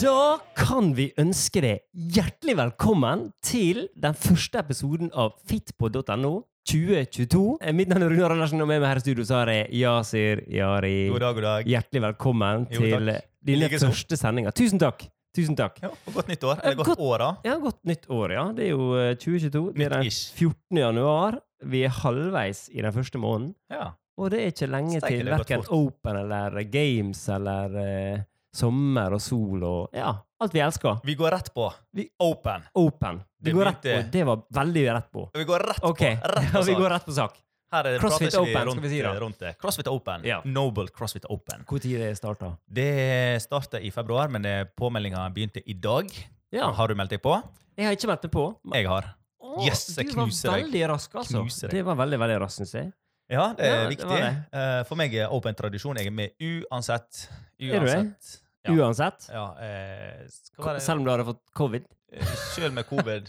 Da kan vi ønske deg hjertelig velkommen til den første episoden av fitpod.no 2022. Eh, Mitt navn er Rune Andersen, og med meg her i studio så har jeg Yasir Yari. God dag, god dag. Hjertelig velkommen Jo, takk. til eh, dine Likeså. første sendinger. Tusen takk! Tusen takk. Ja, og godt nytt år. Eller Eh, godt godt- år, da. Ja, godt nytt år, ja. Det er jo eh, 2022. Det er den Nytt-ish. 14. januar. Vi er halvveis i den første måneden. Ja. Og det er ikke lenge Steike, til det har gått verken fort. Open eller Games eller eh, sommer og sol og ja, alt vi elsker. Vi går rett på. Vi- Open. Open. Det, Det går rett på. begynte- det var veldig rett på. Vi går rett Ok, på. Rett på vi sak. går rett på sak. Her er det CrossFit prater ikke Open, rundt, skal vi si da. rundt det. CrossFit Open. Ja. Noble CrossFit Open. Når det starta? Det startet i februar, men eh, påmeldingen begynte i dag. Ja, Har du meldt deg på? jeg har ikke meldt meg på. men- Jeg har. Å, Yes, jeg du var knuser deg. veldig rask, altså. Knuser deg. Det var veldig, veldig raskt, syns jeg. Ja, det er Ja, det viktig. var det. Eh, For meg er open tradisjon. Jeg er med uansett. du det? Uansett. Ja. Uansett. Ja, eh, skal ko- være, Selv om du hadde fått covid. eh, selv med covid.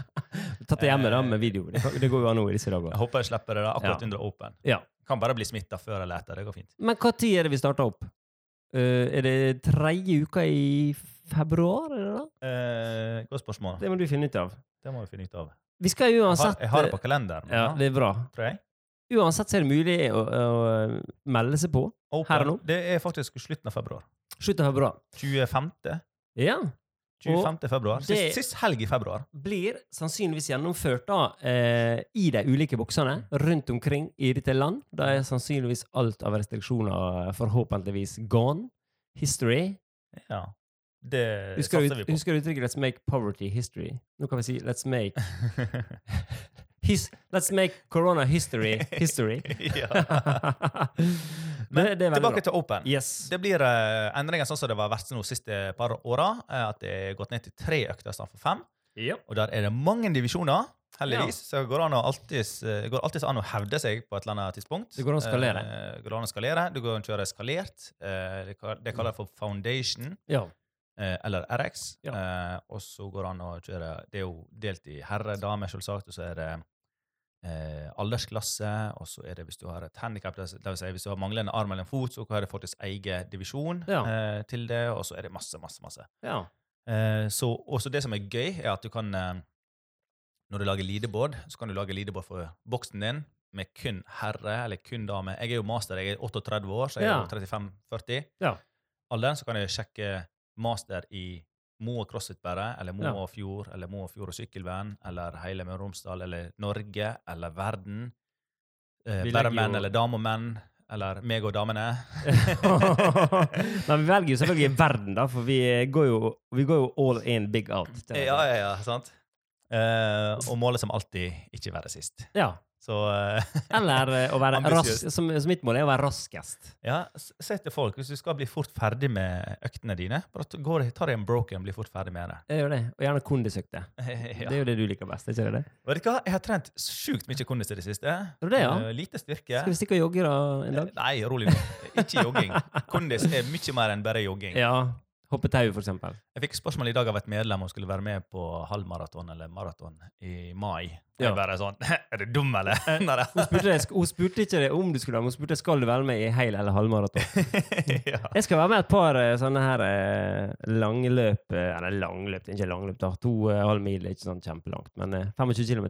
Tatt det hjemme da med video. Det kan- det går jo an nå i disse dager. Eh, Jeg håper jeg slipper det da, akkurat Ja. under open. Ja. Kan bare bli smitta før eller etter. Det går fint. Men når er det vi starta opp? Eh, er det tredje uka i februar? Er det da? Eh, godt spørsmål. Det, Det må du finne ut av. må vi finne ut av. Vi skal Jeg har, uansett jeg har det på kalenderen. eh, Ja, det er bra. tror jeg. Uansett så er det mulig å, å melde seg på. Open, Her og nå? Det er faktisk slutten av februar. Slutt av februar. 25. Ja. 25. februar. Sist, det- sist helg i februar. Blir sannsynligvis gjennomført da eh, i de ulike boksene rundt omkring i dette land. Da er sannsynligvis alt av restriksjoner eh, forhåpentligvis gone. History. Ja. Det Husker du, Eh, satser vi på. husker du uttrykket 'let's make poverty history'? Nå kan vi si 'let's make his, Let's make corona history history'. ja. det, Men det er veldig tilbake bra. til Open. Yes. Det blir eh, endringer sånn som det var verst nå siste par åra. eh, at det er gått ned til tre økter istedenfor fem. Ja. Og der er det mange divisjoner, heldigvis. Så går det an å alltids, eh, går alltid an å hevde seg på et eller annet tidspunkt. Det går an å skalere. Eh, går an å skalere. Du går an å kjøre skalert. Eh, det kal- det kaller jeg for foundation, ja. eh, eller RX. Ja. Eh, og så går det an å kjøre Det er jo delt i herre, dame, selvsagt, og så er det Eh, aldersklasse, og så er det hvis du har et handikap, det vil si hvis du har manglende arm eller en fot, så har det faktisk egen divisjon Ja. eh, til det, og så er det masse, masse, masse. ja. Eh, så også det som er gøy, er at du kan eh, Når du lager leaderboard, så kan du lage leaderboard for boksen din med kun herre eller kun dame. Jeg er jo master, jeg er 38 år, så jeg Ja. er jo 35-40. Ja. Alderen, så kan jeg sjekke master i Mo og crossfit-bæret, eller Mo Ja. og fjord, eller Mo og fjord og sykkelvenn, eller hele Møre og Romsdal, eller Norge, eller verden. Eh, Vi legger bare jo- menn eller dame og menn, eller meg og damene. Men vi velger jo selvfølgelig verden, da, for vi eh, går jo, vi går jo all in, big out. Ja, ja, ja, sant? Eh, og målet som alltid ikke være sist. Ja. Så eh, Eller eh, å være rask, Ambisiøst. som, som mitt mål er å være raskest. ja, s- si til folk, hvis du skal bli fort ferdig med øktene dine, bare ta- gå, ta deg en broken og bli fort ferdig med det. Jeg gjør det. Og gjerne kondisøkte. ja. Det er jo det du liker best. er ikke det det? Vet du hva? Jeg har trent sjukt mye kondis i det siste. du det, ja? Eh, lite styrke. Eh, Skal vi stikke og jogge da en dag? Nei, rolig nå. Ikke jogging. Kondis er mye mer enn bare jogging. Ja. Hoppe tau, for eksempel. Jeg fikk spørsmål i dag av et medlem om skulle være med på halvmaraton eller maraton i mai. Ja. Eh, Jeg bare sånn Er du dum, eller? Nei, da. Hun spurte, deg- hun spurte ikke deg om du skulle være med, hun spurte skal du være med i hel eller halvmaraton. ja. Jeg skal være med et par eh, sånne her eh, langløp eh, Eller langløp, det er ikke langløp, da. To eh, halv mil er ikke sånn kjempelangt, men eh, 25 km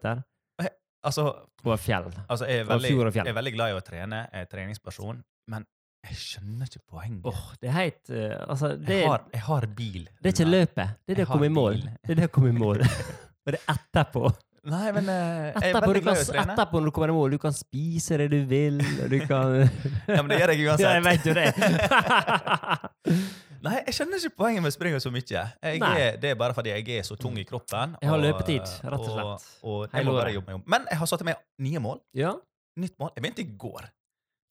Altså, over fjell. Altså, jeg er, Fra veldig, fjord og fjell. jeg er veldig glad i å trene, jeg er treningsperson, men jeg skjønner ikke poenget. Åh, det er helt eh, Altså, det, jeg, har, er- jeg har bil. det er ikke løpet. Det er det Jeg å komme i har mål. bil. Det er det å komme i mål. Og det er etterpå. Nei, men eh, jeg er Etterpå, du veldig kan, glad i å trene. etterpå når du kommer i mål, du kan spise det du vil, og du kan Altså, Ja, men det gjør Ja, jeg jeg uansett. vet jo det. Nei, jeg skjønner ikke poenget med å springe så mye. Jeg Nei. er, det er bare fordi jeg er så tung i kroppen. Jeg har og- løpetid, rett og slett. Og, og Hele jeg må bare året. jobbe meg om. Men jeg har satt meg nye mål. Ja. Nytt mål. Jeg begynte i går.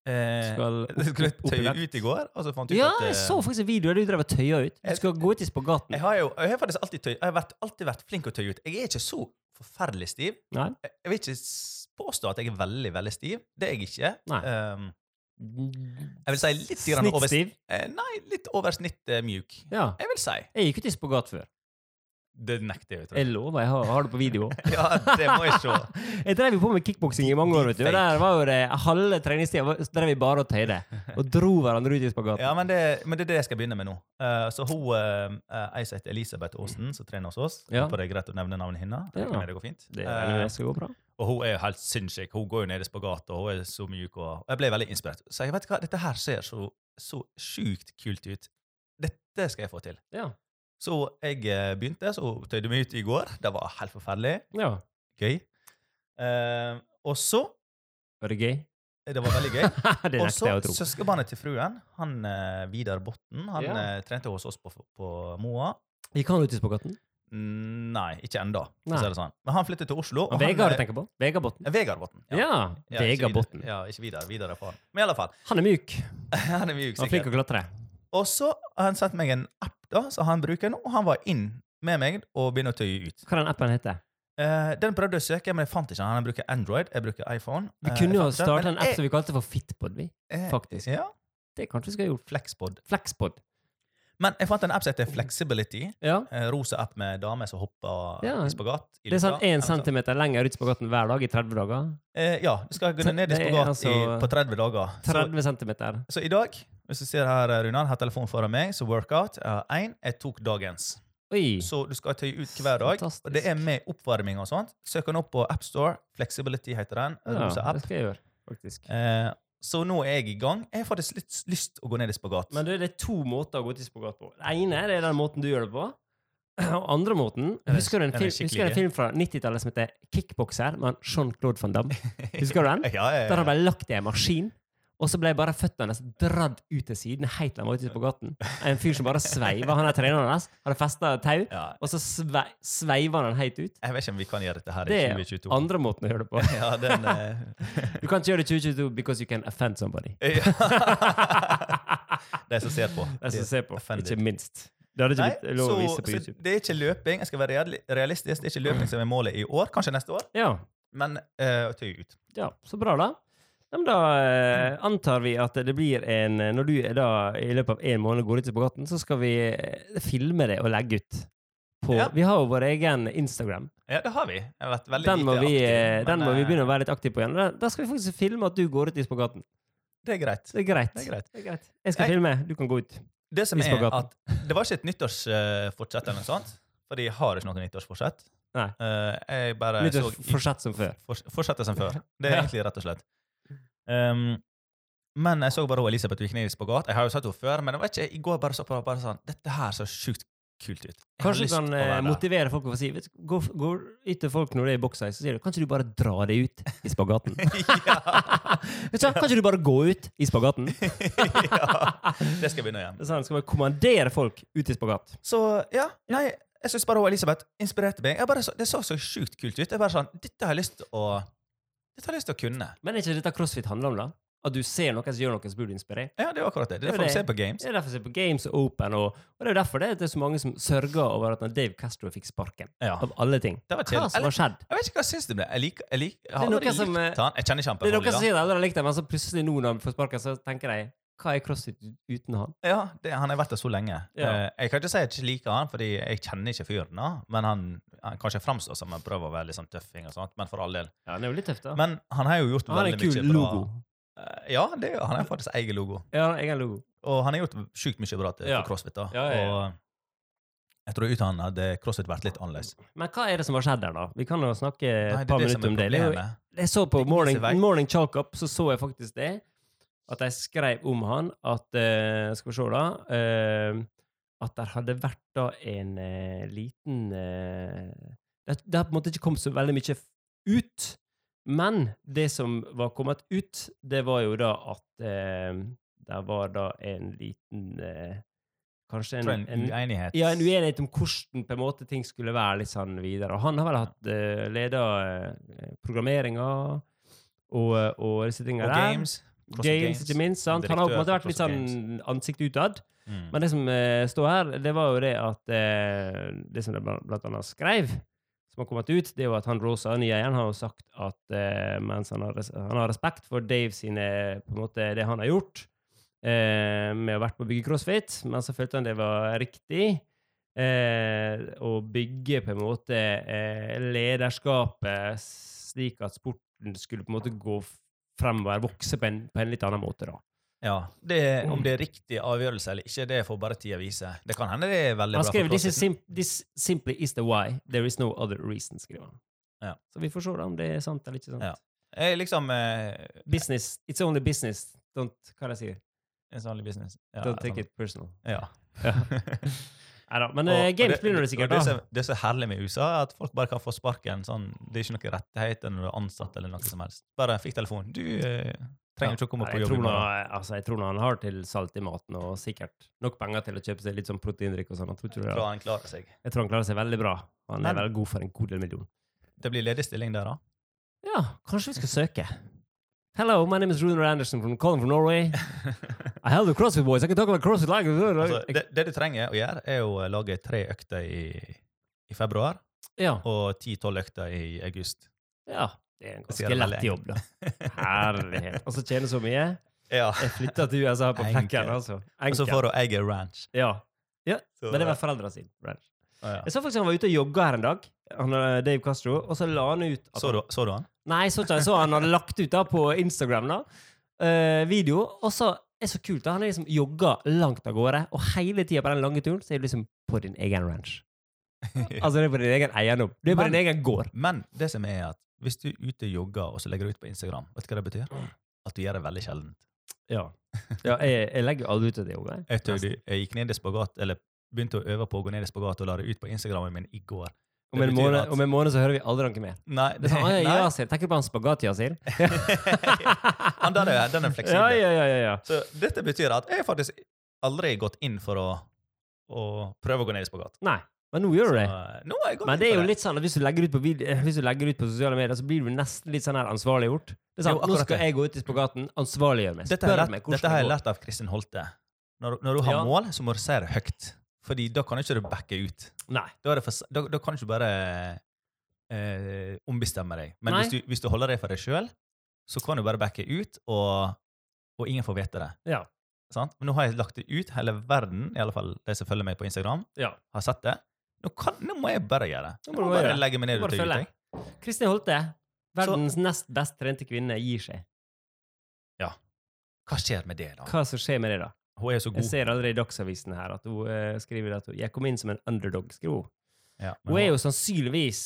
Eh, Skal opp- jeg skulle opp i tøye vekt. ut i går, og så fant jeg ut ja, at jeg eh, så faktisk en video der du drev og tøya ut. Du Jeg- skal gå ut i spagaten. Jeg har jo jeg har faktisk alltid, tøy, jeg har vært, alltid vært flink å tøye ut. Jeg er ikke så forferdelig stiv. Nei. Jeg, jeg vil ikke s- påstå at jeg er veldig, veldig stiv. Det er jeg ikke. Nei. Ehm, jeg vil si litt grann over, Snittstiv. eh, nei, litt over snitt eh, mjuk. Ja. Jeg vil si. Jeg gikk ut i spagat før. Det nekter jeg, tror jeg. Jeg lover, jeg har, har det på video. Ja, det må jeg se. Jeg drev jo på med kickboksing i mange år. vet du. Og Deepfake. der var jo det, Halve treningstida var- så drev vi bare og tøyde. Og dro hverandre ut i spagaten. Ja, men det, men det er det jeg skal begynne med nå. Eh, så hun, eh, eh, Jeg som heter Elisabeth Aasen, som trener hos oss. Ja. Håper det er greit å nevne navnet hennes. Ja. Ja. Det går fint. Det Eh, det skal gå bra. og hun er jo helt sinnssyk. Hun går jo ned i spagat, og hun er så mjuk. Og jeg ble veldig inspirert. Så jeg vet hva, dette her ser så, så sjukt kult ut. Dette skal jeg få til. Ja. Så jeg eh, begynte, så tøyde meg ut i går. Det var helt forferdelig. ja. Gøy. Eh, og så Var det gøy? Det var veldig gøy. det Og nekter så jeg å tro. søskenbarnet til fruen, han eh, Vidar Botten, han Ja. eh, trente hos oss på, på Moa. Gikk han ut i spagaten? Mm, Nei, ikke ennå. Nei. Det sånn. Men han flyttet til Oslo. og han, Vegard eh, tenker på? Vegard Botten? eh, Vegard Botten. Ja. Ja, ikke Vegard Vidar. Botten. Ja, ikke Vidar. Vidar er faren. Men i alle fall, Han er mjuk. han er mjuk, Han er flink sikkert. til å klatre. Og så har han sendt meg en app da, som han bruker nå. og Han var inn med meg og begynner å tøye ut. Hva er den appen heter? Eh, den prøvde jeg å søke, men jeg fant ikke den. Han bruker Android, jeg bruker iPhone. Vi Eh, kunne jo ha jeg fant ikke startet den, en men app som vi kalte for Fitpod. vi. jeg- jeg- faktisk. Ja, Det kanskje vi skulle ha gjort. Flexpod. Flexpod. Men jeg fant en app som heter Flexibility. Ja. Eh, rosa app med damer som hopper Ja, i spagat. I Det er lufta, sånn én eller sånn. centimeter lenger ut i spagaten hver dag i 30 dager. Eh, ja, du skal gå ned i Det er spagat altså- i, på 30 dager. Så, 30 centimeter. så i dag, hvis du ser her, eh, Runar, har telefonen foran meg, så workout eh, 1 jeg tok dagens. Oi! Så du skal tøye ut hver dag. Fantastisk. Og det er med oppvarming og sånt. Søk den opp på AppStore. Flexibility heter den. Ja, Rosa det app. skal jeg gjøre, faktisk. Eh, så nå er jeg i gang. Jeg har faktisk litt lyst å gå ned i spagat. Men du, det er to måter å gå til spagat på. Den ene det er den måten du gjør det på. Og andre måten Den er- Husker du en den er film, skikkelig husker du en gøy. film fra 90-tallet som heter Kickbokser med han Jean-Claude van Damme? Husker du den? ja, ja, Der han ja. ble lagt i en maskin, og så ble bare føttene hans dradd ut til siden helt til han var ute på gaten. En fyr som bare sveiva. Han er treneren hans, hadde festa tau, ja. og så svei, sveiva han helt ut. Jeg vet ikke om vi kan gjøre dette her i Det er 2022. Andre måten å gjøre det på. Ja, den eh, Du kan ikke gjøre det i 2022 because you can offend somebody. Ja. De som ser på. De som ser på, offended. ikke minst. Det hadde Nei, ikke blitt lov å så, vise på så YouTube. det er ikke løping. Jeg skal være reali- realistisk. Det er ikke løping som er målet i år, kanskje neste år, Ja, men eh, å tøye ut. ja, så bra, da. Ja, men da eh, antar vi at det blir en eh, Når du er da i løpet av en måned går ut på gaten, så skal vi eh, filme det og legge ut. På, Ja. Vi har jo vår egen Instagram. Ja, det har vi. Jeg har vært veldig Den må, lite vi, aktiv, eh, men, den må vi eh, begynne å være litt aktive på igjen. Da, da skal vi faktisk filme at du går ut i spagaten. Det er greit. Så det er greit. Det er greit. Jeg skal Jeg- filme, du kan gå ut. Det som I er spagaten. at det var ikke et nyttårsfortsett eller noe sånt, for jeg har ikke noe nyttårsforsett. Nei. Eh, jeg bare Litt så i- forsett som før. Forts- Fortsette som før. Det Ja. er egentlig rett og slett. Um, men jeg så bare hun Elisabeth gikk ned i spagat. Jeg har jo sett henne før, men jeg vet ikke, i går bare så på henne bare sånn Dette her ser sjukt kult ut. Jeg har Kanskje du lyst kan å eh, være der.» motivere folk til å si vet du, Gå, gå ut til folk når de er i boksheis, så sier du Kan ikke du bare dra deg ut i spagaten? Vet du hva, Kan ikke du bare gå ut i spagaten? ja, det skal jeg begynne igjen. Det er sånn, skal man kommandere folk ut i spagat? Så ja, nei, jeg syns bare hun Elisabeth inspirerte meg. Jeg bare så, det så så sjukt kult ut. Jeg bare sånn Dette har jeg lyst til å Dette har jeg lyst til å kunne. Men er ikke dette crossfit handler om, da? At du ser noen som gjør noe, så blir du inspirert? Ja, det er jo akkurat det. Det Det er er derfor vi det. ser på games. Det er derfor jeg ser på Games og Open, og, og det er jo derfor det er, det er så mange som sørger over at når Dave Castro fikk sparken. Ja. Av alle ting. Det var Hva chill. som har skjedd? Jeg vet ikke hva syns du ble. Jeg liker Jeg, liker, jeg Det har er noe aldri som, eh, likt han. Jeg kjenner ikke han Det er noen som personlig. sier de aldri har likt det, men så plutselig nå når han får sparken, så tenker de Hva er crossfit uten han? da. Ja, det, han har vært der så lenge. Ja. Eh, jeg kan ikke si at jeg ikke liker han, fordi jeg kjenner ikke fyren. da. Men han, han kanskje framstår som en prøver å være litt sånn tøffing og sånt, men for all del. Ja, det er jo litt tøft, da. Men han har jo gjort han har en veldig mye kul bra. logo. Eh, ja, det, er jo- han har faktisk egen logo. Ja, han har egen logo. Og han har gjort sjukt mye bra til Ja. for CrossFit. da. Ja, ja, ja. Og jeg tror uten han hadde CrossFit vært litt annerledes. Men hva er det som har skjedd der, da? Vi kan jo snakke Nei, et det er par det som minutter er om det. det er jo, problemet. jeg så på Det viser Morning, vei. morning Chalk Up, så så jeg faktisk det. At de skrev om han at eh, Skal vi se, da. eh, at der hadde vært da en eh, liten eh, det, det har på en måte ikke kommet så veldig mye f- ut. Men det som var kommet ut, det var jo da at eh, der var da en liten eh, Kanskje Jeg en, tror en en uenighet ja, en uenighet om hvordan på en måte ting skulle være litt sånn videre. Og han har vel hatt uh, leda programmeringa og, eh, og disse tinga og der. games. CrossFit Games, ikke minst. sant? Han har på en Direktør måte for vært litt CrossFit sånn ansikt utad. Mm. Men det som eh, står her, det var jo det at eh, Det som de blant blant annet skrev, som har kommet ut, det er jo at han Rosa, nye eieren, har jo sagt at eh, mens han har, res han har respekt for Dave sine på en måte det han har gjort eh, med å ha vært på å bygge CrossFit, men så følte han det var riktig. Eh, og bygge på en måte eh, lederskapet slik at sporten skulle på en måte gå f- fremover, vokse på en, på en litt annen måte, da. Ja, det, Mm. Om det er riktig avgjørelse eller ikke, det får bare tida vise. Det kan hende det er veldig Han bra. skrev for this, is CrossFit. sim this simply is the why. There is no other reason, skriver han. Ja. Så vi får se da om det er sant eller ikke sant. Ja. Jeg liksom eh, Business, It's only business. Don't, hva er det jeg sier? En sånn business. Ja, Don't take sånn. it personal. Ja. Neida, men Og- eh, og games blir nå det og sikkert, Det, da. som- det som er herlig med USA, er at folk bare kan få sparken. Sånn, det er ikke noen rettigheter når du er ansatt eller noe som helst. Bare fikk telefon. Du eh, trenger ikke å komme Nei, på jeg jobb. i tror nå- morgen. altså, jeg tror nå han har til salt i maten og sikkert nok penger til å kjøpe seg litt sånn proteindrikk og sånn. Jeg, tror ikke det Jeg er- tror han klarer seg. jeg tror han klarer seg veldig bra. Han er Men- veldig god for en god del million. Det blir ledig stilling der, da. Ja, kanskje vi skal søke. Hello, my name is Runar Andersen from calling from Norway. I help the CrossFit boys. I can talk about CrossFit like Altså, det, det du trenger å gjøre, er å eh, lage tre økter i, i februar Ja. og ti-tolv økter i august. ja. Det er en ganske sier det lett veldig jobb, da. Herlighet. Altså tjene så mye. Ja. Jeg flytta til USA på flekken, Enkelt. altså. Og så Enkelt. får hun eie ranch. Ja. Så, Men det var foreldra sine. Jeg ja. så faktisk han var ute og jogga her en dag, han, eh, Dave Castro, og så la han ut at så, du, så du han? Nei, jeg så ikke jeg så han hadde lagt ut da på Instagram da, eh, video, og så er det så kult da, han er liksom jogga langt av gårde, og hele tida på den lange turen så er du liksom på din egen ranch. Altså det er på din egen eiendom. Du er på Men- din egen gård. Men det som er at hvis du er ute og jogger og så legger du ut på Instagram, vet du hva det betyr? At du gjør det veldig sjeldent. Ja. jeg, jeg legger jo aldri ut at jeg jogger. Jeg, tøyde, jeg gikk ned i spagat, eller begynte å øve på å gå ned i spagat og la det ut på Instagramen min i går. Om en, betyr måned, at- om en måned så hører vi aldri noe mer. Nei, Det er sånn, «Å, nei. Yasir, Tenker du på han spagat, Yasir? Han der er, den Ja, er ja, fleksibel. ja, ja, ja. Så dette betyr at jeg faktisk aldri gått inn for å, å prøve å gå ned i spagat. Nei, men nå gjør du det. Så, eh, nå har jeg gått Men det inn er for jo litt sånn at hvis du legger ut på, vid eh, hvis du legger ut på sosiale medier, så blir du nesten litt sånn her ansvarliggjort. Det er sant, Jo, Nå akkurat skal det. jeg gå ut i spagaten, ansvarliggjør meg. Dette har Spør meg jeg lært, hvordan dette har jeg det går. lært av Kristin Holte. Når, når du har Ja. mål, så må du si det høyt. Fordi da kan ikke du backe ut. Nei. Da, er det for, s- da, da kan du ikke bare eh, ombestemme deg. Men Nei. hvis du, hvis du holder deg for deg sjøl, så kan du bare backe ut, og, og ingen får vite det. Ja. Sant? Men nå har jeg lagt det ut. Hele verden, i alle fall de som følger meg på Instagram, Ja. har sett det. Nå, kan, nå må jeg bare gjøre det. Nå må du Nå må bare jeg gjøre bare legge meg Nå ned må ut du og følge. ut. jeg. Kristin Holte, verdens nest best trente kvinne, gir seg. Hva skjer med det, da? Hva som skjer med det, da? Hun er jo så Jeg god. ser allerede i Dagsavisen her at hun eh, skriver at hun, jeg kom inn som en underdog. skriver hun. Ja, men Hun er hun- jo sannsynligvis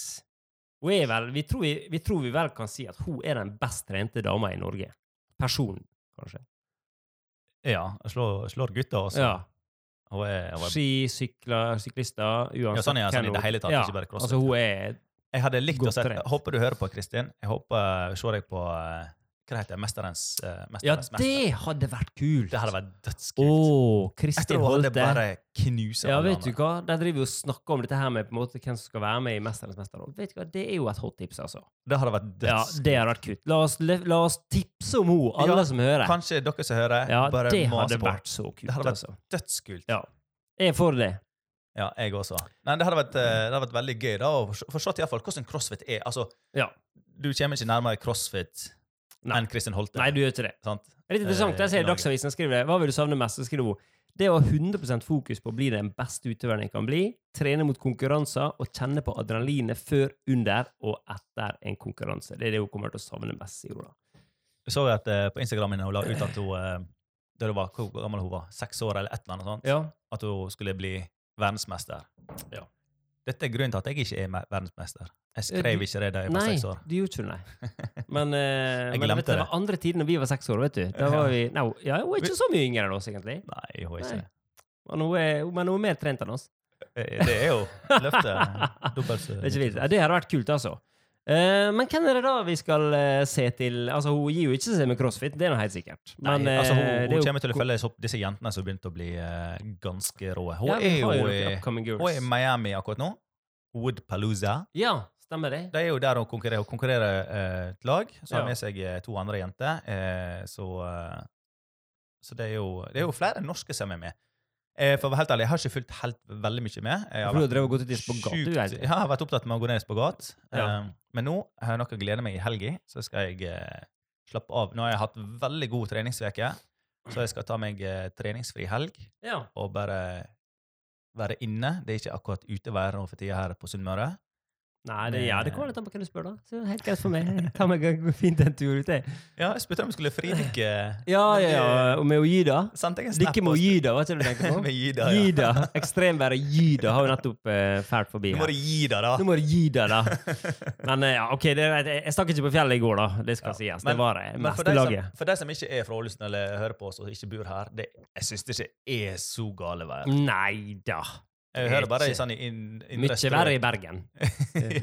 hun er vel, vi, tror vi, vi tror vi vel kan si at hun er den best trente dama i Norge. Personen, kanskje. ja, slår, slår gutter også. Ja. Hun er, hun er Ski, sykler, syklister uansett. Ja, sånn, ja, sånn i hvem det hun- hele tatt, ikke bare crossfit. Altså, hun er Jeg hadde likt Godt å se trent. Jeg håper du hører på, Kristin. Jeg håper jeg ser deg på eh, Hva heter det? Mesterens, eh, Ja, mesterens mester. det hadde vært kult! Det hadde vært dødskult. Åh, jeg Kristin tror hun hadde Holte. bare knuse Ja, alle vet du andre. hva? Der driver vi og snakker om dette her med på en måte hvem som skal være med i Mesternes mester. Og vet du hva? Det er jo et hot tips, altså. Det hadde vært Ja, dødskult. Det har vært kutt. La oss, la oss tipse om henne, alle Ja, som hører. Kanskje dere som hører, Ja, bare det hadde maser på. vært så kult, Det hadde vært- altså. Dødskult. Ja. Jeg er for det. Ja, jeg også. Nei, det hadde vært, eh, det hadde vært veldig gøy da, å for- forstå til iallfall hvordan crossfit er. Altså, Ja. du kommer ikke nærmere crossfit Nei. enn Kristin Holte. Nei, du gjør ikke det. Sant? Det er litt interessant. Jeg Eh, ser i i Dagsavisen skriver det. Hva vil du savne mest? Så skriver hun det å ha 100 fokus på å bli den beste utøveren jeg kan bli, trene mot konkurranser og kjenne på adrenalinet før, under og etter en konkurranse. Det er det hun kommer til å savne mest, sier hun da. Jeg så jo at eh, på Instagram min, hun la ut at hun eh, da hun var, Hvor gammel hun var? Seks år eller et eller annet? sånt? Ja. at hun skulle bli verdensmester. Ja. Dette er grunnen til at jeg ikke er me- verdensmester. Eh, Jeg du- skrev ikke det da jeg var Nei, seks år. du gjorde ikke det, nei. Men, eh, men Jeg vet du, glemte det var det. andre tider når vi var seks år, vet du. Da var vi, nei, hun- ja, hun er ikke så mye yngre enn oss, egentlig. Nei, jeg har ikke. Nei. Men hun er, men hun er mer trent enn oss. Eh, Det er jo løftet dobbelt så Det er ikke vidt. Ja, Det hadde vært kult, altså. Eh, men hvem er det da vi skal eh, se til? Altså, Hun gir jo ikke seg med crossfit, det er nå helt sikkert. Nei, Men, altså, hun, eh, det er hun jo- kommer til å følge opp disse jentene som begynte å bli eh, ganske rå. Hun Ja, vi er jo har i, noen upcoming girls. hun er i Miami akkurat nå. Woodpalooza. Ja, stemmer det. De er jo der hun konkurrerer. Hun konkurrerer eh, et lag, så har Ja. med seg eh, to andre jenter. Eh, så eh, så det, er jo, det er jo flere norske som er med. Eh, for å være helt ærlig, jeg har ikke fulgt helt veldig mye med. Jeg For du har drevet og gått ut i spagat, sjukt- du, egentlig. Ja, jeg har vært opptatt med å gå ned i spagat. Ja. Eh, men nå har jeg noe å glede meg i helga, så skal jeg eh, slappe av. Nå har jeg hatt veldig god treningsveke, så jeg skal ta meg eh, treningsfri helg Ja. og bare være inne. Det er ikke akkurat utevær nå for tida her på Sunnmøre. Nei, det, ja, det kommer litt an på hvem du spør, da. Så det er helt greit for meg. Jeg tar meg fint en tur ut, jeg. Ja, jeg spurte om vi skulle fridykke. Ja, ja, ja. Og med Ojida. Sendte jeg en eh, snap Dykke med og- Ojida, hva er det du tenker på? med Gyda, ja. Jida. Ekstremværet Jida har jo nettopp eh, fælt forbi Nå må her. du gi deg, da. Nå må du gi deg, da. Men eh, ja, OK, det er, greit. jeg jeg stakk ikke på fjellet i går, da. Det skal Ja, sies. men- det var det Men for meste de, som, laget. for de som ikke er fra Ålesund eller hører på oss og ikke bor her, det, jeg syns det ikke er så gale vær. Nei da. Jeg hører bare i ikke- sånn i inn- indre Mye strøk. verre i Bergen. Ja.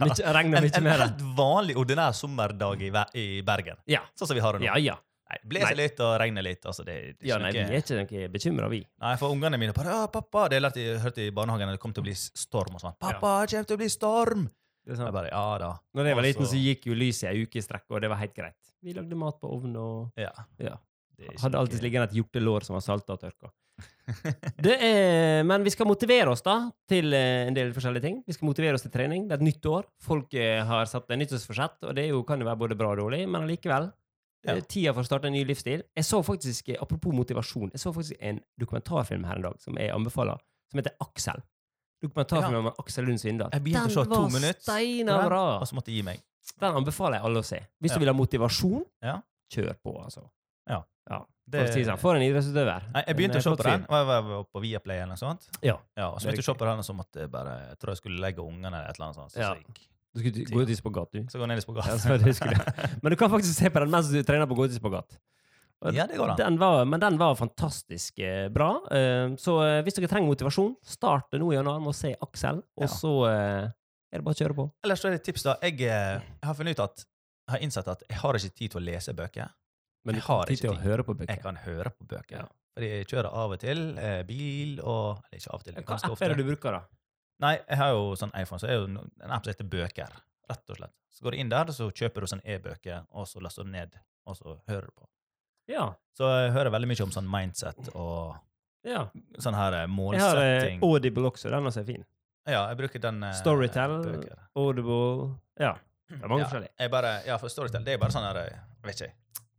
Mykje- Regner En, mye en mer. helt vanlig, ordinær sommerdag i, ver- i Bergen, Ja. sånn som vi har det nå. Ja, ja. Nei, Blåser Nei. litt og regner litt. Altså det, det er ja ikke nei, vi noe- er ikke noe bekymra, vi. Nei, for ungene mine bare, «Å, 'Pappa!' Det lærte jeg hørte i barnehagen at det kom til å bli storm. og sånn. 'Pappa, det kommer til å bli storm!' Det er Jeg sånn. bare, ja da. Når jeg var liten, Altså- så gikk jo lyset i ei uke i strekk, og det var helt greit. Vi lagde mat på ovn og Ja. Ja. Det er ikke hadde alltid noe- liggende et hjortelår som var salta og tørka. Det er, men vi skal motivere oss da til eh, en del forskjellige ting. Vi skal motivere oss til trening. Det er et nytt år. Folk eh, har satt en nyttårsforsett, og det er jo, kan jo være både bra og dårlig, men allikevel. Ja. eh, Tida for å starte en ny livsstil. Jeg så faktisk, eh, Apropos motivasjon, jeg så faktisk en dokumentarfilm her en dag som jeg anbefaler, som heter Aksel. Dokumentarfilmen om Aksel Lund Svindal. Jeg begynte å se to minutter steina på den, bra! Og så måtte jeg gi meg. Den anbefaler jeg alle å se. Hvis Ja. du vil ha motivasjon, Ja. kjør på, altså. Det- For å si det sånn, For en idrettsutøver. Nei, jeg begynte En, å se eh, på flott den. og Jeg var- var på Viaplay eller noe sånt. fyr. Ja. Ja, og Det er så begynte jeg å se på den, og så måtte jeg bare Jeg tror jeg skulle legge ungene eller et eller annet sånt. Så, Ja. så, gikk, Du skulle gå ut i spagat, du. så går jeg ned i spagat. Ja, så det skulle jeg. Men du kan faktisk se på den mens du trener på å gå ut i spagat. Og Ja, det går an. Den var, men den var fantastisk eh, bra. Eh, så eh, hvis dere trenger motivasjon, start det nå i januar med å se Aksel, og Ja. så eh, er det bare å kjøre på. Ellers så er det et tips, da. Jeg, eh, jeg har funnet ut at jeg har innsett at jeg har ikke tid til å lese bøker. Men Jeg har ikke tid til å tid. høre på Jeg bøker. kan høre på bøker. Ja. Fordi jeg kjører av og til eh, bil og Eller ikke av og til, men Hva ganske app ofte. er det du bruker, da? Nei, jeg har jo sånn iPhone, så er jo no- en app som heter Bøker. Rett og slett. Så går du inn der, så kjøper du sånn e-bøker, og så laster du ned, og så hører du på. Ja. Så jeg hører veldig mye om sånn mindset og ja. sånn her eh, Jeg har eh, målsetting. Audible også. Den også er fin. ja, jeg bruker den eh, Storytel. bøker. Audible Ja. Det er mange Ja, forskjellige. Jeg bare, ja, for Storytel det er bare sånn her eh, jeg Vet ikke.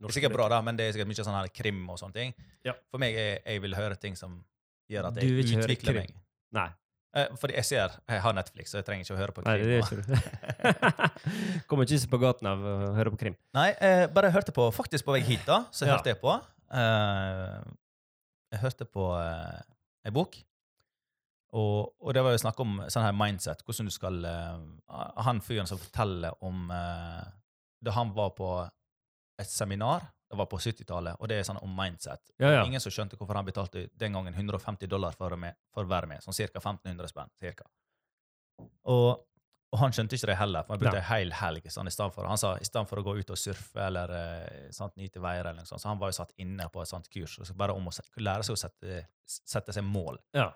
Det er sikkert bra, da, men det er sikkert mye sånn her krim og sånne ting. Ja. For meg er jeg vil høre ting som gjør at Du jeg vil ikke høre utvikler krim. meg. Nei, Eh, fordi jeg ser Jeg har Netflix, så jeg trenger ikke å høre på nei, krim. det og- gjør ikke du. Kommer ikke på gaten av å høre på krim. Nei, jeg bare hørte på Faktisk på vei hit, da, så Ja. hørte jeg på. eh, jeg hørte på uh, ei bok, og, og det var jo snakk om sånn her mindset. Hvordan du skal eh, Han fyren som forteller om eh, Da han var på et seminar, det var på 70-tallet, og det er sånn om mindset. Ja, ja. Ingen som skjønte hvorfor han betalte den gangen 150 dollar for å, med, for å være med. Sånn ca. 1500 spenn. Cirka. Og, og han skjønte ikke det heller, for han brukte Nei. en hel helg sånn, i stedet for. Han sa i stedet for å gå ut og surfe eller eh, sant, nyte veier, eller noe sånt, så han var jo satt inne på et sånt kurs. og Så bare om å se- lære seg å sette, sette seg mål. Ja.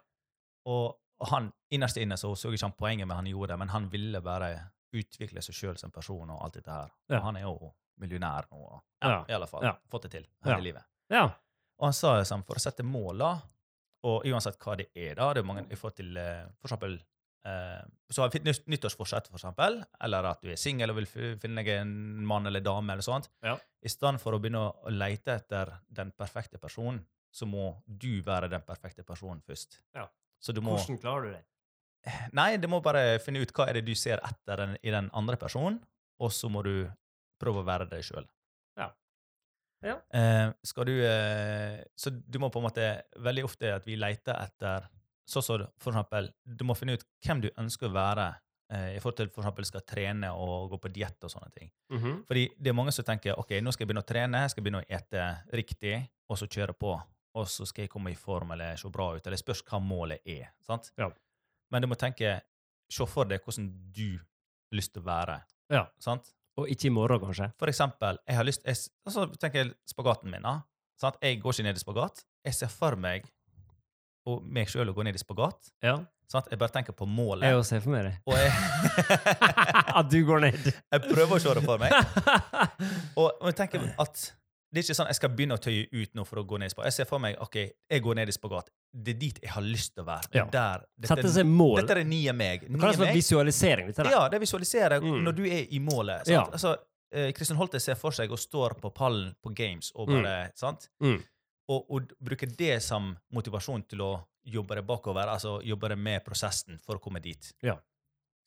Og, og han, innerst inne så så ikke han poenget med han gjorde det, men han ville bare utvikle seg sjøl som person og alt dette her. Ja. Og han er jo millionær nå, og Ja. i alle fall Ja. fått det til Ja. her i livet. ja. Og han sa jo sånn, for å sette mål, da, og uansett hva det er, da det er mange, Mm. i forhold til, eh, for eksempel, eh, så har vi nytt- nyttårsforsett, for eksempel, eller at du er singel og vil fi- finne deg en mann eller dame, eller sånt. Ja. I stedet for å begynne å lete etter den perfekte personen, så må du være den perfekte personen først. Ja. Så du må, klarer du det? nei, du må bare finne ut hva er det du ser etter den, i den andre personen, og så må du prøve å være deg sjøl. Ja. Ja. Eh, skal du eh, Så du må på en måte Veldig ofte at vi leter etter Sånn som for eksempel Du må finne ut hvem du ønsker å være eh, i forhold til for eksempel skal trene og gå på diett og sånne ting. Fordi det er mange som tenker ok, nå skal jeg begynne å trene, jeg skal begynne å ete riktig, og så kjøre på. Og så skal jeg komme i form eller se bra ut. Eller det spørs hva målet er. sant? Ja. Men du må tenke Se for deg hvordan du har lyst til å være. Ja. sant? Og ikke i morgen, kanskje? For eksempel, jeg har lyst jeg, s- altså, tenker jeg spagaten min. da. sant? Jeg går ikke ned i spagat. Jeg ser for meg og meg sjøl å gå ned i spagat. Ja. sant? Jeg bare tenker på målet. Jeg også ser for meg det. Og jeg, At du går ned. jeg prøver å se det for meg. Og, og jeg tenker at det er ikke sånn jeg skal begynne å tøye ut nå for å gå ned i spagat. Jeg ser for meg ok, jeg går ned i spagat. Det er dit jeg har lyst til å være. Det er Der, Sette seg mål. dette er det nye meg. Det Nye kalles for meg. visualisering. Dette der. Ja, det visualiserer Mm. når du er i målet. Sant? Ja. Altså, eh, Kristin Holte ser for seg og står på pallen på Games og bare sant? Mm. Og, og bruke det som motivasjon til å jobbe det bakover, altså jobbe det med prosessen for å komme dit. Ja.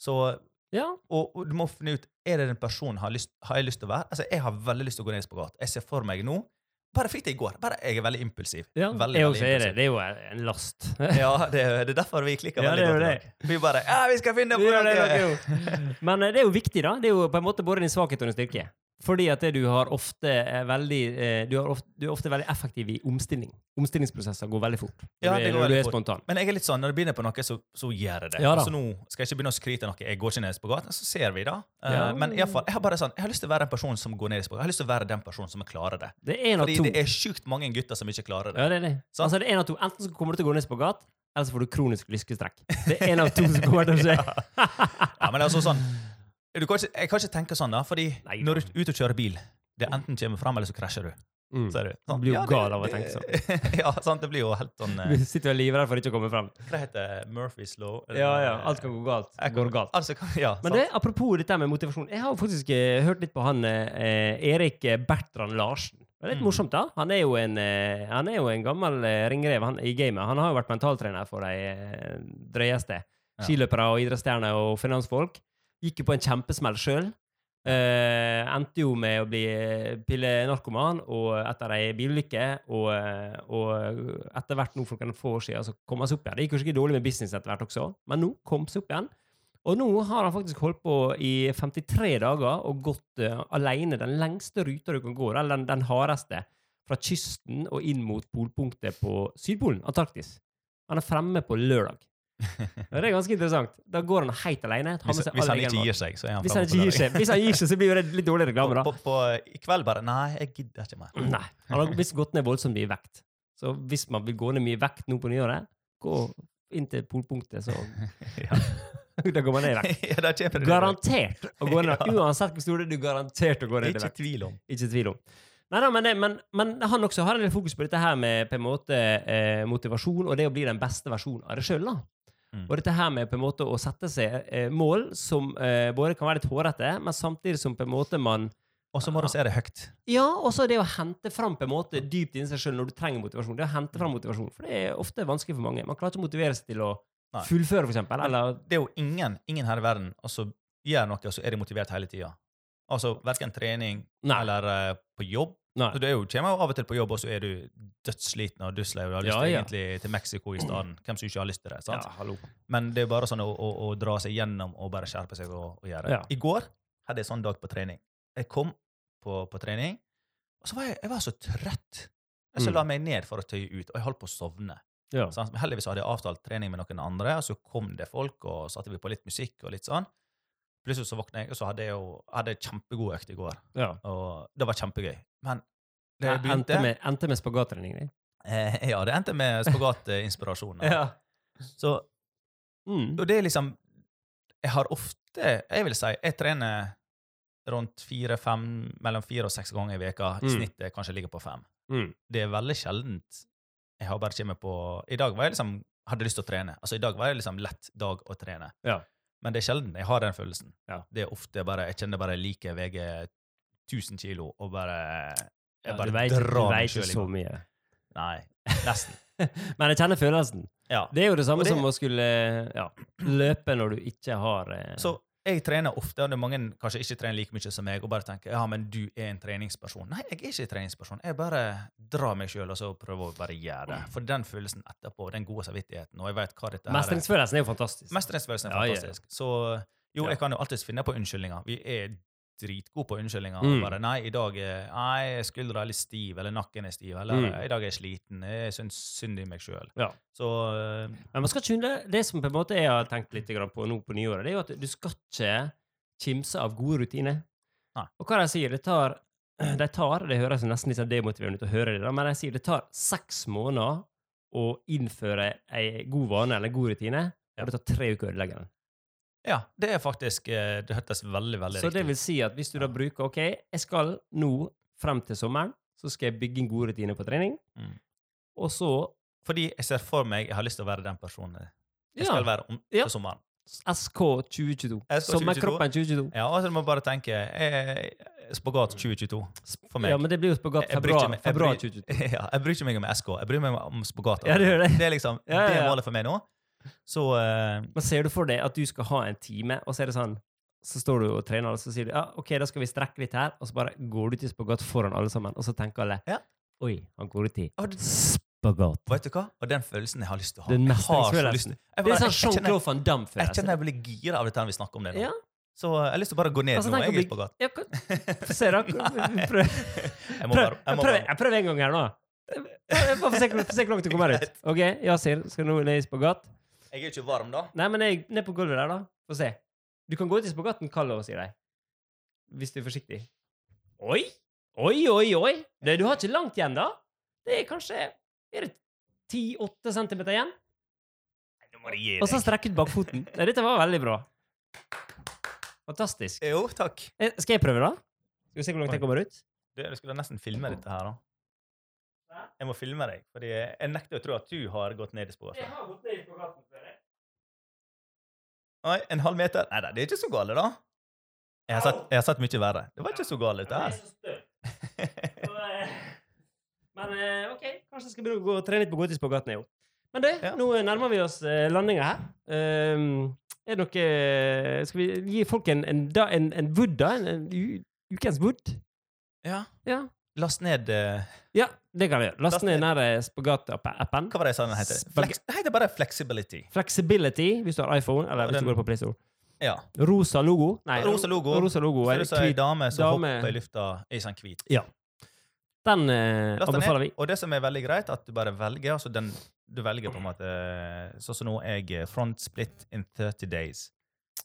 Så, Ja. og, og du må finne ut er det den personen har, lyst, har jeg lyst til å være. Altså, Jeg har veldig lyst til å gå ned i spagat. Jeg ser for meg nå Bare fikk det i går. Bare Jeg er veldig impulsiv. ja. Veldig, jeg veldig også er det. impulsiv. Det er jo en last. Ja, det, er- det er derfor vi klikker Ja, veldig det er godt. jo i dag. Vi bare Ja, vi skal finne på Ja, det noe! er nok jo. Men eh, det er jo viktig, da. Det er jo på en måte både din svakhet og din styrke. Fordi at det du har ofte eh, veldig eh, du, har ofte, du er ofte veldig effektiv i omstilling. Omstillingsprosesser går veldig fort. Ja, Når det du- når går du veldig er fort. spontan. Men jeg er litt sånn, når du begynner på noe, så, så gjør jeg det. Ja da. altså, nå skal jeg ikke begynne å skryte av noe. Jeg går ikke ned i spagat, så ser vi da. Eh, Ja. Men i alle fall, jeg har bare sånn, jeg har lyst til å være den personen som går ned i spagat. Jeg har lyst til å være den personen som klarer det. Det er en av Fordi to. det er sjukt mange gutter som ikke klarer det. Ja, det er det. Sant? Altså, det er en av to. Enten så kommer du til å gå ned spagat, eller så får du kronisk lyskestrekk. Det er en av to som kommer til å skje. Ja, men altså sånn, du kan ikke, jeg kan ikke tenke sånn da, fordi Nei. når du er ute og kjører bil, det er enten kommer frem, eller så krasjer du. Mm. Ser du? Du blir jo det- gal av å tenke sånn. det- ja, sant, det blir jo helt sånn, eh, Du sitter og er livredd for ikke å komme frem. hva heter det? Murphy's Law? eller- Ja, ja. Alt kan gå galt. Jeg Går galt. Altså, ja, sant. Men det, apropos dette med motivasjon. Jeg har jo faktisk eh, hørt litt på han eh, Erik Bertrand Larsen. Det er litt Mm. morsomt, da. Han er jo en, eh, han er jo en gammel eh, ringrev han, i gamet. Han har jo vært mentaltrener for de eh, drøyeste. Ja. Skiløpere og idrettsstjerner og finansfolk. Gikk jo på en kjempesmell sjøl. Eh, endte jo med å bli eh, pillenarkoman og etter ei bilulykke. Og, eh, og etter hvert nå for noen få år siden så kom han seg opp igjen. Det gikk jo ikke dårlig med business etter hvert også, men nå kom han seg opp igjen. Og nå har han faktisk holdt på i 53 dager og gått eh, alene den lengste ruta du kan gå, eller den, den hardeste, fra kysten og inn mot polpunktet på Sydpolen, Antarktis. Han er fremme på lørdag. Og Det er ganske interessant. Da går han helt alene. tar med Hvis, seg hvis all han egen ikke mat. gir seg, så er han Hvis han fremme ikke på gir lørdag. seg, hvis han gir seg, så blir jo det litt dårlig reklame, da. På, på, på, I kveld bare Nei, jeg gidder ikke mer. Nei. Han har visst gått ned voldsomt mye vekt. Så hvis man vil gå ned mye vekt nå på nyåret, gå inn til polpunktet, så Ja. Da går man ned i vekt. ja, der kommer det. Garantert å gå ned. Ja. Uansett hvor stor du er, du er garantert å gå Det er ned i ikke vekt. tvil om. Ikke tvil om. Nei da, men, det, men, men han også har en del fokus på dette her med på en måte eh, motivasjon og det å bli den beste versjonen av deg sjøl. Mm. Og dette her med på en måte å sette seg eh, mål som eh, både kan være litt hårete, men samtidig som på en måte man Og så må du se det høyt. Ja, og så det å hente fram på en måte dypt inni seg sjøl når du trenger motivasjon. Det å hente Mm. fram motivasjon, For det er ofte vanskelig for mange. Man klarer ikke å motivere seg til å Nei. fullføre, for eksempel. Eller Det er jo ingen, ingen her i verden altså, gjør noe, og så er de motivert hele tida. Altså verken trening Nei. eller eh, på jobb. Nei. Så Du er jo, kommer jo av og til på jobb, og så er du dødssliten og dusslei og du har lyst Ja, til ja. egentlig til Mexico i stedet. Hvem som ikke har lyst til det? sant? Ja, hallo. Men det er bare sånn å, å, å dra seg gjennom og bare skjerpe seg og, og gjøre. Ja. I går hadde jeg sånn dag på trening. Jeg kom på, på trening, og så var jeg, jeg var så trøtt. Jeg så Mm. la meg ned for å tøye ut, og jeg holdt på å sovne. Ja. sant? Men heldigvis hadde jeg avtalt trening med noen andre, og så kom det folk, og satte vi på litt musikk og litt sånn. Plutselig så våkna jeg, og så hadde jeg jo hadde jeg kjempegod økt i går. ja. Og det var kjempegøy. Men det Jeg begynte endte med, endte med spagattrening. jeg. eh, Ja, det endte med spagatinspirasjon. Så Mm. og det er liksom Jeg har ofte Jeg vil si jeg trener rundt fire-fem, mellom fire og seks ganger i veka. I Mm. snittet kanskje ligger på fem. Mm. Det er veldig sjeldent jeg har bare kommet på I dag var jeg liksom hadde lyst til å trene. Altså I dag var det liksom lett dag å trene. Ja. Men det er sjelden jeg har den følelsen. Ja. Det er ofte bare Jeg kjenner bare jeg liker VG 1000 kilo og bare Ja, Jeg du bare vet, du drar meg vet ikke sjøl så i gang. mye. Nei. Nesten. Men jeg kjenner følelsen. Ja. Det er jo det samme Og det- som å skulle ja, løpe når du ikke har eh, Så jeg trener ofte, og det er mange kanskje ikke trener like mye som meg, og bare tenker ja, men du er en treningsperson. Nei, jeg er ikke en treningsperson. Jeg bare drar meg sjøl og så prøver å bare gjøre Mm. det. For den følelsen etterpå, den gode samvittigheten, og jeg vet hva dette her er. Mestringsfølelsen er jo fantastisk. Mestringsfølelsen er Ja, ja, ja. fantastisk. Så jo, Ja. jeg kan jo alltids finne på unnskyldninger. Vi er dritgode på unnskyldninger. Mm. og Bare nei, i dag er nei, skuldra er litt stiv, eller nakken er stiv, eller Mm. i dag er jeg sliten, jeg syns synd i meg sjøl. Ja. Så eh, Men man skal ikke under, det som på en måte jeg har tenkt litt grann på nå på nyåret, det er jo at du skal ikke kimse av gode rutiner. Nei. Og hva de sier, det tar de tar, Det høres jo nesten litt sånn demotiverende ut å høre det, da, men de sier det tar seks måneder å innføre ei god vane eller en god rutine, Ja. og det tar tre uker å ødelegge den. ja, det er faktisk eh, Det hørtes veldig, veldig Så riktig det ut. vil si at hvis du da Ja. bruker OK, jeg skal nå frem til sommeren, så skal jeg bygge en god rutine på trening, Mm. og så Fordi jeg ser for meg jeg har lyst til å være den personen. Jeg ja, skal være om Ja. på sommeren. SK 2022. SK 2022. Sommerkroppen 2022. altså, Ja, og så må jeg bare tenke jeg, spagat Mm. 2022 for meg. Ja, men det blir jo spagat Jeg- jeg bryr ikke februar, meg- jeg februar bryr- 2022. ja, jeg bryr ikke meg om SK, jeg bryr meg om spagat. Ja, det gjør det. er liksom Ja, ja, det er ja. målet for meg nå. Så eh, Men ser du for deg at du skal ha en time, og så er det sånn så står du og trener, og så sier du ja, ok, da skal vi strekke litt her, og så bare går du til spagat foran alle sammen, og så tenker alle Ja. oi, han går ut i og det- spagat. vet du hva? Og den følelsen jeg har lyst til å ha. Den Jeg har så mestringsfølelsen. lyst til- Det jeg bare- er sånn jeg- jeg kjenner- Jean-Claude van Jeg kjenner Damme-følelse. jeg blir gira av dette når vi snakker om det nå. Ja. Så eh, jeg har lyst til å bare gå ned Altså, nå. tenk å Jeg er i bli- spagat. Ja, hva- Få se, da. Nei. Prøv. Jeg må Prøv, bare, jeg jeg må prøver, bare jeg prøver en gang her nå. Bare få se, hvor- få se hvor langt du kommer ut. Ok, Yasir skal nå ned i spagat. Jeg er jo ikke varm, da. Nei, men jeg, ned på gulvet der, da. Få se. Du kan gå ut i spagaten kald over, sier de. Hvis du er forsiktig. Oi! Oi, oi, oi! Det, du har ikke langt igjen, da. Det er kanskje Er det 10-8 cm igjen? Nå må du gi Og så deg. strekk ut bakfoten. Nei, Dette var veldig bra. Fantastisk. Jo, takk. Eh, Skal jeg prøve, da? Skal vi se hvor langt jeg kommer ut? Du, jeg skulle nesten filme dette her, da. Jeg må filme deg, fordi jeg nekter å tro at du har gått ned i sporet. har gått ned i spagaten før, jeg. Oi, en halv meter? Nei da, det er ikke så gale, da. Jeg har, sett, jeg har sett mye verre. Det var ikke så gale, dette her. Så, eh, Men eh, ok, kanskje jeg skal begynne å gå og trene litt på å gå ut i spagaten. Jo. Men du, Ja. nå nærmer vi oss eh, landinga her. Ehm, er det noe eh, Skal vi gi folk en, en, da, en, en wood, da? En, en u, ukens wood? Ja. Ja. Last ned eh, ja, det kan vi gjøre. Last Last ned ned. den her, eh, spagat-appen. Hva var det jeg sa den heter? Flex, det heter bare flexibility. Flexibility, hvis du har iPhone, eller Og hvis du den- går på PlayStore. Ja. Rosa logo. Nei, Rosa logo. Rosa logo Så er du sa ei hvit. dame som dame- hopper i lufta i sånn hvit. Den eh, Last den anbefaler ned. vi. Og det som er veldig greit, at du bare velger altså den, Du velger på en måte Sånn som nå jeg eh, Front split in 30 days.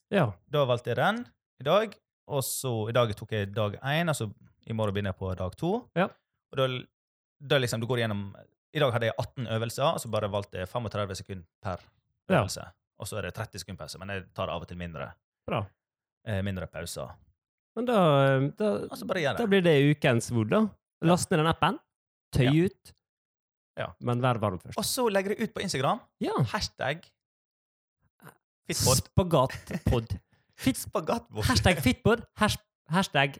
Ja. Da valgte jeg den i dag, og så i dag tok jeg dag én, altså i morgen begynner jeg på dag to. Ja. Og da, da liksom du går gjennom I dag hadde jeg 18 øvelser, og så bare valgte jeg 35 sekunder per Ja. øvelse. Og så er det 30 sekunder pause, men jeg tar av og til mindre. Bra. Eh, mindre pauser. Men da, eh, da Og så bare gjør Da det. blir det ukens wood, da. Last ned den appen. Tøy Ja. ut. Ja. Men vær varm først. Og så legger jeg ut på Instagram Ja. hashtag fitpod. Spagatpod. Fit, Spagatbord. hashtag fitpod. Hash, hashtag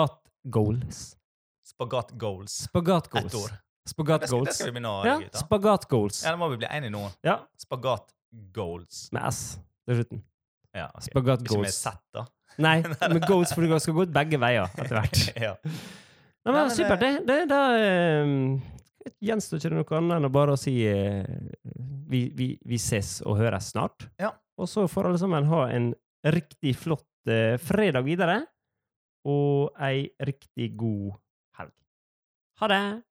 spagatgoals. Spagatgoals. Ett Spagatgoals. ord. Det skal, det Spagatgoals. skal vi begynne å Ja, legge ut. da. spagatgoals. Ja, Da må vi bli enige nå. Ja, Spagatgoals. med S til slutten. Ja, ok. Ikke med Spagatgoals. Z, da. Nei, med goals, for det skal gå ut begge veier etter hvert. ja. Nei, Nei, men men supert. Det, det, da ehm, gjenstår ikke det noe annet enn å bare å si eh, vi, vi, vi ses og høres snart. Ja. Og så får alle sammen ha en riktig flott eh, fredag videre, og ei riktig god helg. Ha det!